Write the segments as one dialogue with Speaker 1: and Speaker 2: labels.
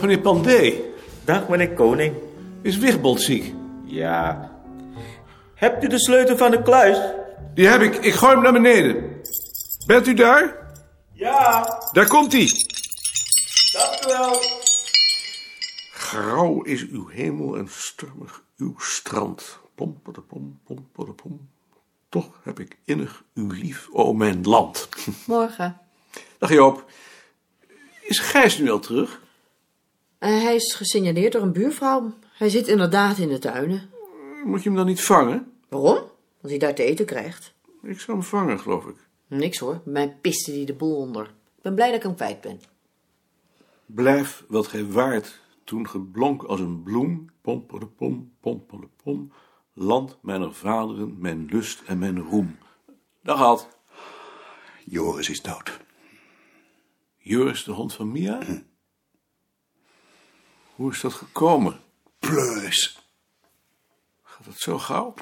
Speaker 1: Meneer Pandé,
Speaker 2: Dag, meneer Koning.
Speaker 1: is Wigbold ziek?
Speaker 2: Ja. Hebt u de sleutel van de kluis?
Speaker 3: Die heb ik. Ik gooi hem naar beneden. Bent u daar?
Speaker 2: Ja,
Speaker 3: Daar komt hij.
Speaker 2: dank u wel.
Speaker 3: Grauw is uw hemel en stormig uw strand. Pom, pom, pom, pom, pom. Toch heb ik innig uw lief, o mijn land.
Speaker 4: Morgen.
Speaker 3: Dag Joop. Is Gijs nu al terug?
Speaker 4: Eh, hij is gesignaleerd door een buurvrouw. Hij zit inderdaad in de tuinen.
Speaker 3: Moet je hem dan niet vangen?
Speaker 4: Waarom? Als hij daar te eten krijgt.
Speaker 3: Ik zou hem vangen, geloof ik.
Speaker 4: Niks hoor, bij mij piste die de boel onder. Ik ben blij dat ik hem kwijt ben.
Speaker 3: Blijf wat gij waart, toen ge blonk als een bloem, pompelepom, pompelepom, land mijner vaderen, mijn lust en mijn roem. Dag Ad.
Speaker 5: Joris is dood.
Speaker 3: Joris de hond van Mia? Hoe is dat gekomen?
Speaker 5: Plus.
Speaker 3: Gaat dat zo gauw?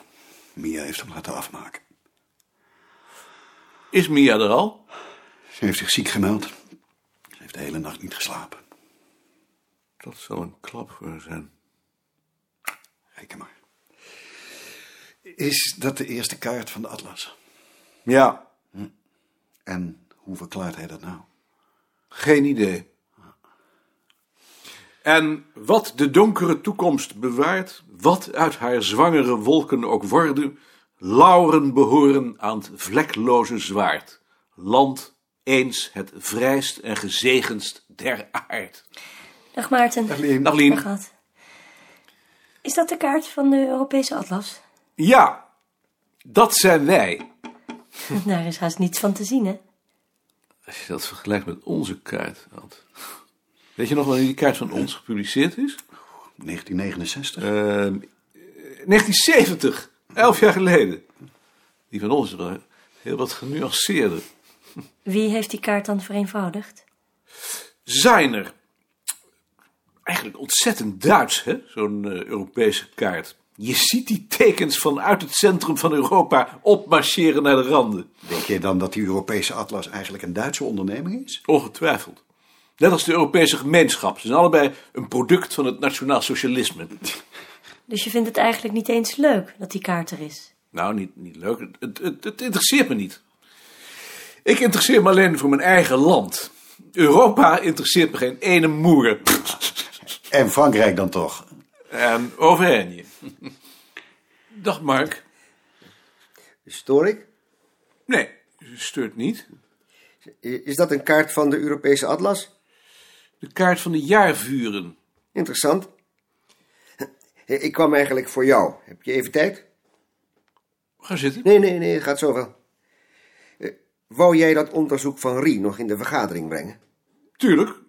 Speaker 5: Mia heeft hem laten afmaken.
Speaker 3: Is Mia er al?
Speaker 5: Ze heeft zich ziek gemeld. Ze heeft de hele nacht niet geslapen.
Speaker 3: Dat zal een klap voor haar zijn.
Speaker 5: Reken maar. Is dat de eerste kaart van de atlas?
Speaker 3: Ja,
Speaker 5: En hoe verklaart hij dat nou?
Speaker 3: geen idee. En wat de donkere toekomst bewaart, wat uit haar zwangere wolken ook worden, lauren behoren aan het vlekloze zwaard, land eens het vrijst en gezegendst der aard.
Speaker 6: Dag Maarten. Dag
Speaker 5: Lien.
Speaker 3: Dag Lien.
Speaker 6: Ad. Is dat de kaart van de Europese atlas?
Speaker 3: Ja, dat zijn wij.
Speaker 6: Nou, Daar is haast niets van te zien, hè?
Speaker 3: Als je dat vergelijkt met onze kaart, Ad. Weet je nog wanneer die kaart van ons gepubliceerd is?
Speaker 5: 1969?
Speaker 3: Ehm, 1970, elf jaar geleden. Die van ons is wel heel wat genuanceerder.
Speaker 6: Wie heeft die kaart dan vereenvoudigd?
Speaker 3: Zijn er. Eigenlijk ontzettend Duits, hè? Zo'n eh, Europese kaart. Je ziet die tekens vanuit het centrum van Europa opmarcheren naar de randen.
Speaker 5: Denk jij dan dat die Europese atlas eigenlijk een Duitse onderneming is?
Speaker 3: Ongetwijfeld. Net als de Europese gemeenschap. Ze zijn allebei een product van het nationaal socialisme.
Speaker 6: Dus je vindt het eigenlijk niet eens leuk dat die kaart er is?
Speaker 3: Nou, niet, niet leuk. Het, het, het, het interesseert me niet. Ik interesseer me alleen voor mijn eigen land. Europa interesseert me geen ene moer.
Speaker 5: En Frankrijk dan toch?
Speaker 3: En Auvergne. Dag Mark.
Speaker 7: Stoor ik?
Speaker 3: Nee, ze steurt niet.
Speaker 7: I- Is dat een kaart van de Europese atlas?
Speaker 3: De kaart van de jaarvuren.
Speaker 7: Interessant. Hé, Ik kwam eigenlijk voor jou. Heb je even tijd?
Speaker 3: Ga zitten.
Speaker 7: Nee, nee, nee, het gaat zo wel. Eh, Wou jij dat onderzoek van Rie nog in de vergadering brengen?
Speaker 3: Tuurlijk.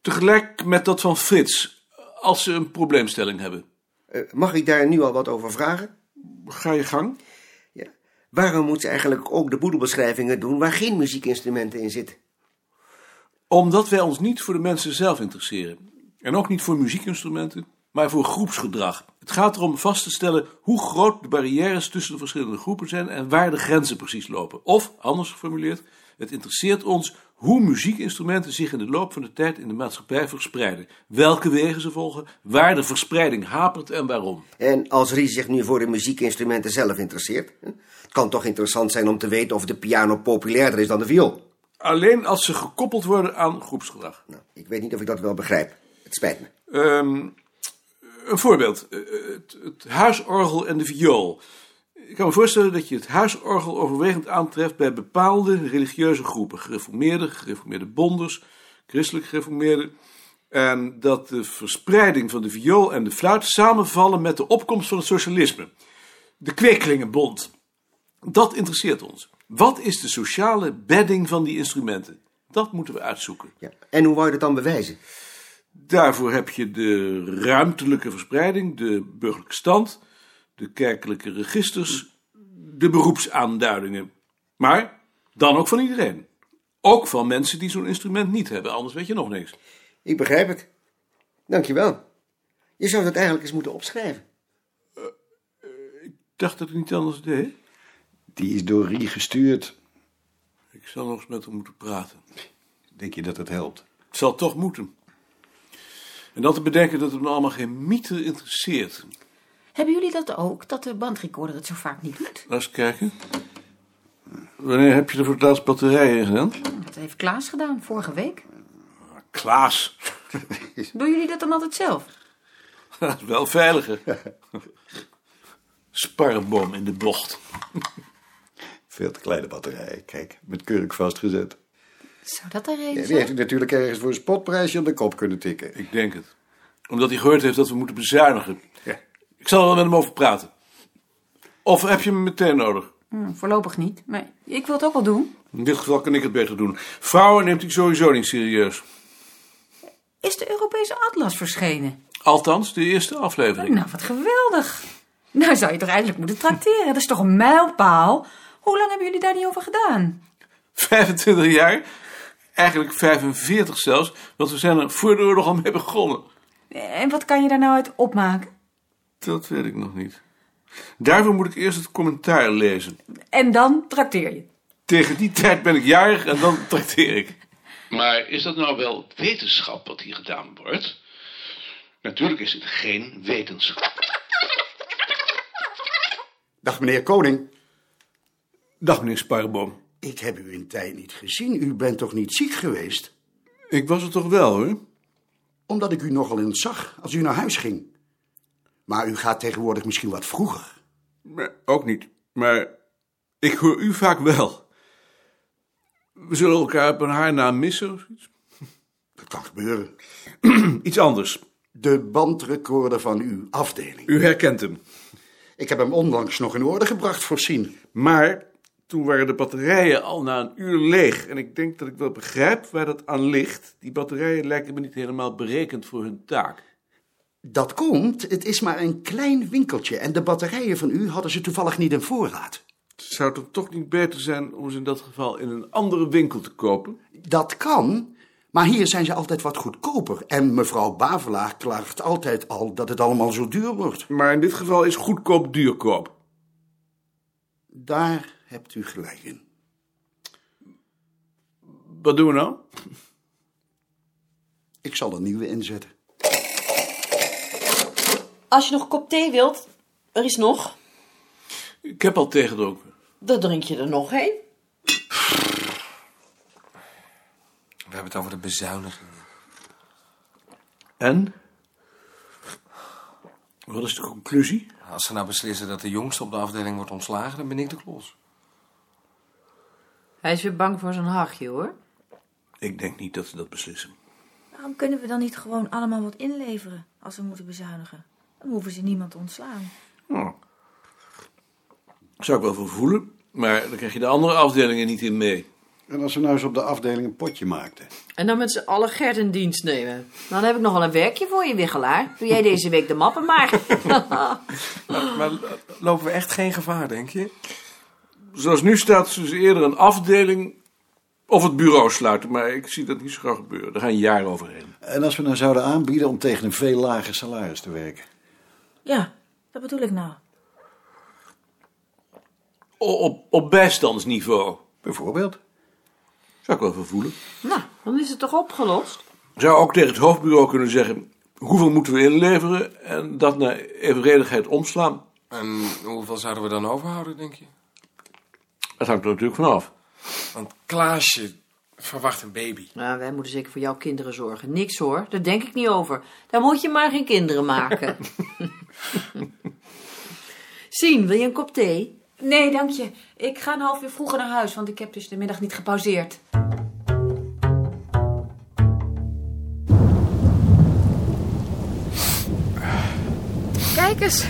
Speaker 3: Tegelijk met dat van Frits. Als ze een probleemstelling hebben.
Speaker 7: Eh, Mag ik daar nu al wat over vragen?
Speaker 3: Ga je gang.
Speaker 7: Waarom moet ze eigenlijk ook de boedelbeschrijvingen doen waar geen muziekinstrumenten in zitten?
Speaker 3: Omdat wij ons niet voor de mensen zelf interesseren. En ook niet voor muziekinstrumenten, maar voor groepsgedrag. Het gaat erom vast te stellen hoe groot de barrières tussen de verschillende groepen zijn en waar de grenzen precies lopen. Of, anders geformuleerd, het interesseert ons hoe muziekinstrumenten zich in de loop van de tijd in de maatschappij verspreiden. Welke wegen ze volgen, waar de verspreiding hapert en waarom.
Speaker 7: En als Rie zich nu voor de muziekinstrumenten zelf interesseert? hè? Het kan toch interessant zijn om te weten of de piano populairder is dan de viool?
Speaker 3: Alleen als ze gekoppeld worden aan groepsgedrag.
Speaker 7: Nou, ik weet niet of ik dat wel begrijp. Het spijt me.
Speaker 3: Ehm, een voorbeeld. Eh, Het, het huisorgel en de viool. Ik kan me voorstellen dat je het huisorgel overwegend aantreft bij bepaalde religieuze groepen. Gereformeerde, gereformeerde bonders, christelijk gereformeerde. En dat de verspreiding van de viool en de fluit samenvallen met de opkomst van het socialisme. De kwekelingenbond. Dat interesseert ons. Wat is de sociale bedding van die instrumenten? Dat moeten we uitzoeken.
Speaker 7: Ja. En hoe wou je dat dan bewijzen?
Speaker 3: Daarvoor heb je de ruimtelijke verspreiding, de burgerlijke stand, de kerkelijke registers, de beroepsaanduidingen. Maar dan ook van iedereen. Ook van mensen die zo'n instrument niet hebben, anders weet je nog niks.
Speaker 7: Ik begrijp het. Dankjewel. Je zou dat eigenlijk eens moeten opschrijven.
Speaker 3: Ik dacht dat ik niet anders deed.
Speaker 5: Die is door Rie gestuurd.
Speaker 3: Ik zal nog eens met hem moeten praten.
Speaker 5: Denk je dat het helpt?
Speaker 3: Het zal toch moeten. En dan te bedenken dat het me allemaal geen mieter interesseert.
Speaker 1: Hebben jullie dat ook, dat de bandrecorder het zo vaak niet doet?
Speaker 3: Laat eens kijken. Wanneer heb je er voor het laatst batterijen in gedaan? Ah,
Speaker 1: Dat heeft Klaas gedaan, vorige week.
Speaker 3: Klaas.
Speaker 1: Doen jullie dat dan altijd zelf?
Speaker 3: Dat is wel veiliger. Sparrenboom in de bocht.
Speaker 8: Veel te kleine batterij, kijk, met keurig vastgezet.
Speaker 1: Zou dat daar reden
Speaker 8: Ja, die
Speaker 1: zijn?
Speaker 8: heeft hij natuurlijk ergens voor een spotprijsje op de kop kunnen tikken.
Speaker 3: Ik denk het. Omdat hij gehoord heeft dat we moeten bezuinigen. Ik zal er wel met hem over praten. Of heb je hem meteen nodig?
Speaker 1: Hm, voorlopig niet, maar ik wil het ook wel doen.
Speaker 3: In dit geval kan ik het beter doen. Vrouwen neemt hij sowieso niet serieus.
Speaker 1: Is de Europese atlas verschenen?
Speaker 3: Althans, de eerste aflevering.
Speaker 1: Nou, wat geweldig. Nou zou je toch eindelijk moeten tracteren. Dat is toch een mijlpaal? Hoe lang hebben jullie daar niet over gedaan?
Speaker 3: 25 jaar. Eigenlijk 45 zelfs, want we zijn er voor de oorlog al mee begonnen.
Speaker 1: En wat kan je daar nou uit opmaken?
Speaker 3: Dat weet ik nog niet. Daarvoor moet ik eerst het commentaar lezen.
Speaker 1: En dan trakteer je.
Speaker 3: Tegen die tijd ben ik jarig en dan trakteer ik.
Speaker 9: Maar is dat nou wel wetenschap wat hier gedaan wordt? Natuurlijk is het geen wetenschap.
Speaker 10: Dag meneer Koning.
Speaker 3: Dag meneer Sparrenboom.
Speaker 10: Ik heb u in tijd niet gezien. U bent toch niet ziek geweest?
Speaker 3: Ik was het toch wel hoor?
Speaker 10: Omdat ik u nogal eens zag als u naar huis ging. Maar u gaat tegenwoordig misschien wat vroeger.
Speaker 3: Maar ook niet. Maar ik hoor u vaak wel. We zullen elkaar op een haarnaam missen of iets.
Speaker 10: Dat kan gebeuren.
Speaker 3: Iets anders.
Speaker 10: De bandrecorder van uw afdeling.
Speaker 3: U herkent hem.
Speaker 10: Ik heb hem onlangs nog in orde gebracht voor Sien.
Speaker 3: Maar toen waren de batterijen al na een uur leeg. En ik denk dat ik wel begrijp waar dat aan ligt. Die batterijen lijken me niet helemaal berekend voor hun taak.
Speaker 10: Dat komt, het is maar een klein winkeltje en de batterijen van u hadden ze toevallig niet in voorraad.
Speaker 3: Zou het dan toch niet beter zijn om ze in dat geval in een andere winkel te kopen?
Speaker 10: Dat kan, maar hier zijn ze altijd wat goedkoper. En mevrouw Bavelaar klaagt altijd al dat het allemaal zo duur wordt.
Speaker 3: Maar in dit geval is goedkoop duurkoop.
Speaker 10: Daar hebt u gelijk in.
Speaker 3: Wat doen we nou?
Speaker 10: Ik zal een nieuwe inzetten.
Speaker 11: Als je nog een kop thee wilt, er is nog.
Speaker 3: Ik heb al tegendoken.
Speaker 11: Dan drink je er nog een.
Speaker 12: We hebben het over de bezuinigingen.
Speaker 3: En? Wat is de conclusie?
Speaker 12: Als ze nou beslissen dat de jongste op de afdeling wordt ontslagen, dan ben ik de klos.
Speaker 4: Hij is weer bang voor zijn hachje, hoor.
Speaker 3: Ik denk niet dat ze dat beslissen.
Speaker 6: Waarom kunnen we dan niet gewoon allemaal wat inleveren als we moeten bezuinigen? Dan hoeven ze niemand te ontslaan.
Speaker 3: Nou, Zou ik wel voor voelen, maar dan krijg je de andere afdelingen niet in mee.
Speaker 8: En als ze nou eens op de afdeling een potje maakten.
Speaker 4: En dan met z'n allen Gert in dienst nemen. Dan heb ik nogal een werkje voor je, Wiggelaar. Doe jij deze week de mappen maar.
Speaker 12: Maar lo- lopen we echt geen gevaar, denk je?
Speaker 3: Zoals nu staat, zullen ze eerder een afdeling of het bureau sluiten, maar ik zie dat niet zo graag gebeuren. Daar gaan jaren overheen.
Speaker 8: En als we nou zouden aanbieden om tegen een veel lager salaris te werken.
Speaker 6: Ja, dat bedoel ik nou.
Speaker 3: O- Op, op bijstandsniveau
Speaker 8: Bijvoorbeeld.
Speaker 3: zou ik wel voor voelen.
Speaker 4: nou, dan is het toch opgelost?
Speaker 3: Zou ook tegen het hoofdbureau kunnen zeggen: hoeveel moeten we inleveren en dat naar evenredigheid omslaan.
Speaker 12: En hoeveel zouden we dan overhouden, denk je?
Speaker 3: Dat hangt er natuurlijk vanaf.
Speaker 12: Want Klaasje verwacht een baby.
Speaker 4: Nou, wij moeten zeker voor jouw kinderen zorgen. Niks hoor, daar denk ik niet over. Daar moet je maar geen kinderen maken. Sien, wil je een kop thee?
Speaker 1: Nee, dank je. Ik ga een half uur vroeger naar huis, want ik heb dus de middag niet gepauzeerd.
Speaker 13: Kijk eens,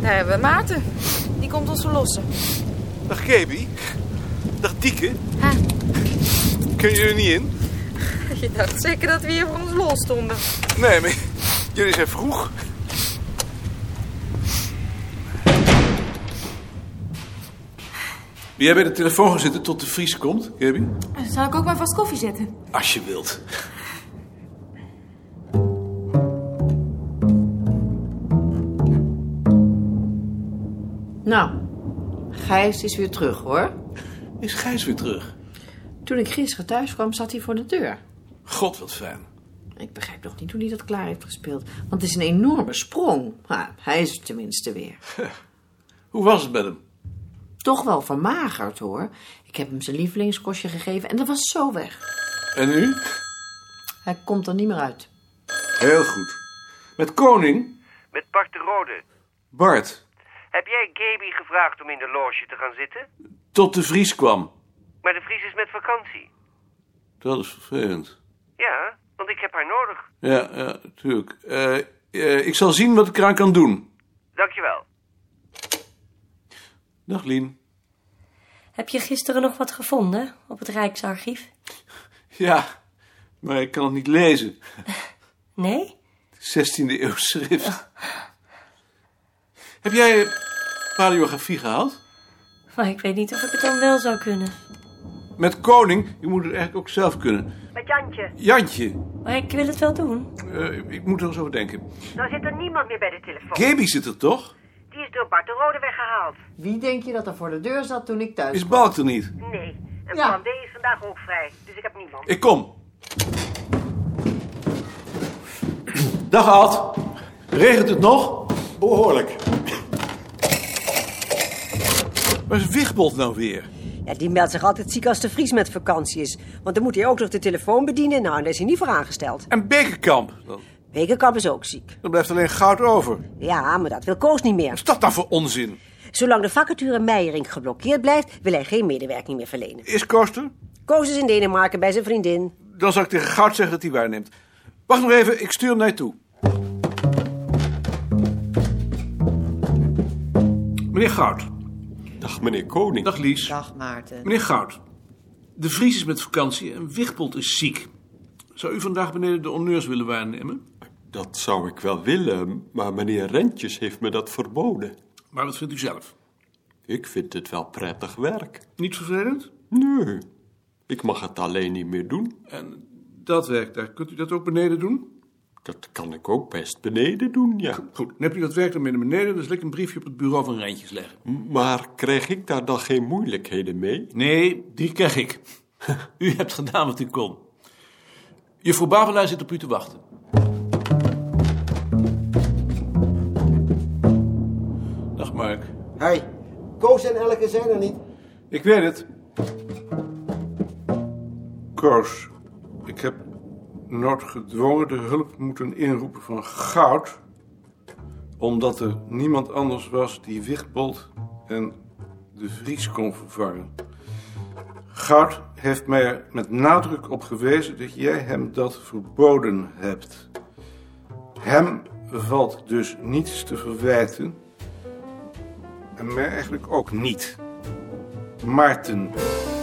Speaker 13: daar hebben we Maarten. Die komt ons verlossen.
Speaker 14: Dag Kebi. Dag Dieke. Kunnen jullie er niet in?
Speaker 13: Je dacht zeker dat we hier voor ons lol stonden.
Speaker 14: Nee, maar jullie zijn vroeg.
Speaker 3: Jij bij de telefoon gaan zitten tot de Vries komt, Kirby?
Speaker 6: Nou,
Speaker 13: Zal ik ook maar vast koffie zetten?
Speaker 3: Als je wilt.
Speaker 4: Nou, Gijs is weer terug hoor.
Speaker 3: Is Gijs weer terug?
Speaker 4: Toen ik gisteren thuis kwam, zat hij voor de deur.
Speaker 3: God, wat fijn.
Speaker 4: Ik begrijp nog niet hoe hij dat klaar heeft gespeeld. Want het is een enorme sprong. Maar hij is er tenminste weer.
Speaker 3: Hoe was het met hem?
Speaker 4: Toch wel vermagerd hoor. Ik heb hem zijn lievelingskostje gegeven en dat was zo weg.
Speaker 3: En nu?
Speaker 4: Hij komt er niet meer uit.
Speaker 3: Heel goed. Met Koning?
Speaker 15: Met Bart de Rode.
Speaker 3: Bart.
Speaker 15: Heb jij Gaby gevraagd om in de loge te gaan zitten?
Speaker 3: Tot de Vries kwam.
Speaker 15: Maar de Vries is met vakantie.
Speaker 3: Dat is vervelend.
Speaker 15: Ja, want ik heb haar nodig.
Speaker 3: Ja, ja, natuurlijk. Eh, eh, ik zal zien wat ik eraan kan doen.
Speaker 15: Dankjewel.
Speaker 3: Dag Lien.
Speaker 16: Heb je gisteren nog wat gevonden op het Rijksarchief?
Speaker 3: Ja, maar ik kan het niet lezen.
Speaker 16: Nee?
Speaker 3: 16e eeuw schrift. Heb jij eh, paleografie gehaald?
Speaker 16: Maar ik weet niet of ik het dan wel zou kunnen.
Speaker 3: Met Koning? Je moet het eigenlijk ook zelf kunnen.
Speaker 16: Met Jantje.
Speaker 3: Jantje,
Speaker 16: Maar ik wil het wel doen.
Speaker 3: eh, ik moet er eens over denken.
Speaker 17: Nou zit er niemand meer bij de telefoon.
Speaker 3: Gaby zit er toch?
Speaker 17: Die is door Bart de Rode weggehaald.
Speaker 4: Wie denk je dat er voor de deur zat toen ik thuis
Speaker 3: Is Balk er niet?
Speaker 17: Nee, en
Speaker 4: Ja.
Speaker 17: plan B is vandaag ook vrij. Dus ik heb niemand.
Speaker 3: Ik kom. Dag Ad. Regent het nog? Behoorlijk. Waar is Wigbold nou weer?
Speaker 18: Ja, die meldt zich altijd ziek als de Vries met vakantie is. Want dan moet hij ook nog de telefoon bedienen. Nou, en daar is hij niet voor aangesteld.
Speaker 3: En Bekenkamp? Dan,
Speaker 18: Bekerkamp is ook ziek.
Speaker 3: dan blijft alleen goud over.
Speaker 18: Ja, maar dat wil Koos niet meer.
Speaker 3: Wat dan nou voor onzin?
Speaker 18: Zolang de vacature Meijering geblokkeerd blijft, wil hij geen medewerking meer verlenen.
Speaker 3: Is Koster?
Speaker 18: Koos is in Denemarken bij zijn vriendin.
Speaker 3: Dan zal ik tegen Goud zeggen dat hij waarneemt. Wacht nog even, ik stuur hem naar je toe. Meneer Goud. Dag meneer Koning. Dag Lies.
Speaker 11: Dag Maarten.
Speaker 3: Meneer Goud, de Vries is met vakantie en Wigbold is ziek. Zou u vandaag beneden de honneurs willen waarnemen?
Speaker 19: Dat zou ik wel willen, maar meneer Rentjes heeft me dat verboden.
Speaker 3: Maar wat vindt u zelf?
Speaker 19: Ik vind het wel prettig werk.
Speaker 3: Niet vervelend?
Speaker 19: Nee, ik mag het alleen niet meer doen.
Speaker 3: En dat werk daar, kunt u dat ook beneden doen?
Speaker 19: Dat kan ik ook best beneden doen, ja.
Speaker 3: Goed, dan hebt u dat werk dan weer naar beneden, dan zal ik een briefje op het bureau van Rijntjes leggen.
Speaker 19: Maar krijg ik daar dan geen moeilijkheden mee?
Speaker 3: Nee, die krijg ik. U hebt gedaan wat u kon. Juffrouw Bavelaar zit op u te wachten. Dag Mark.
Speaker 7: Hi. Koos en Elke zijn er niet.
Speaker 3: Ik weet het. Koos, ik heb noodgedwongen de hulp moeten inroepen van goud. Omdat er niemand anders was die Wichtbold en de Vries kon vervangen. Goud heeft mij er met nadruk op gewezen dat jij hem dat verboden hebt. Hem valt dus niets te verwijten. En mij eigenlijk ook niet. Maarten.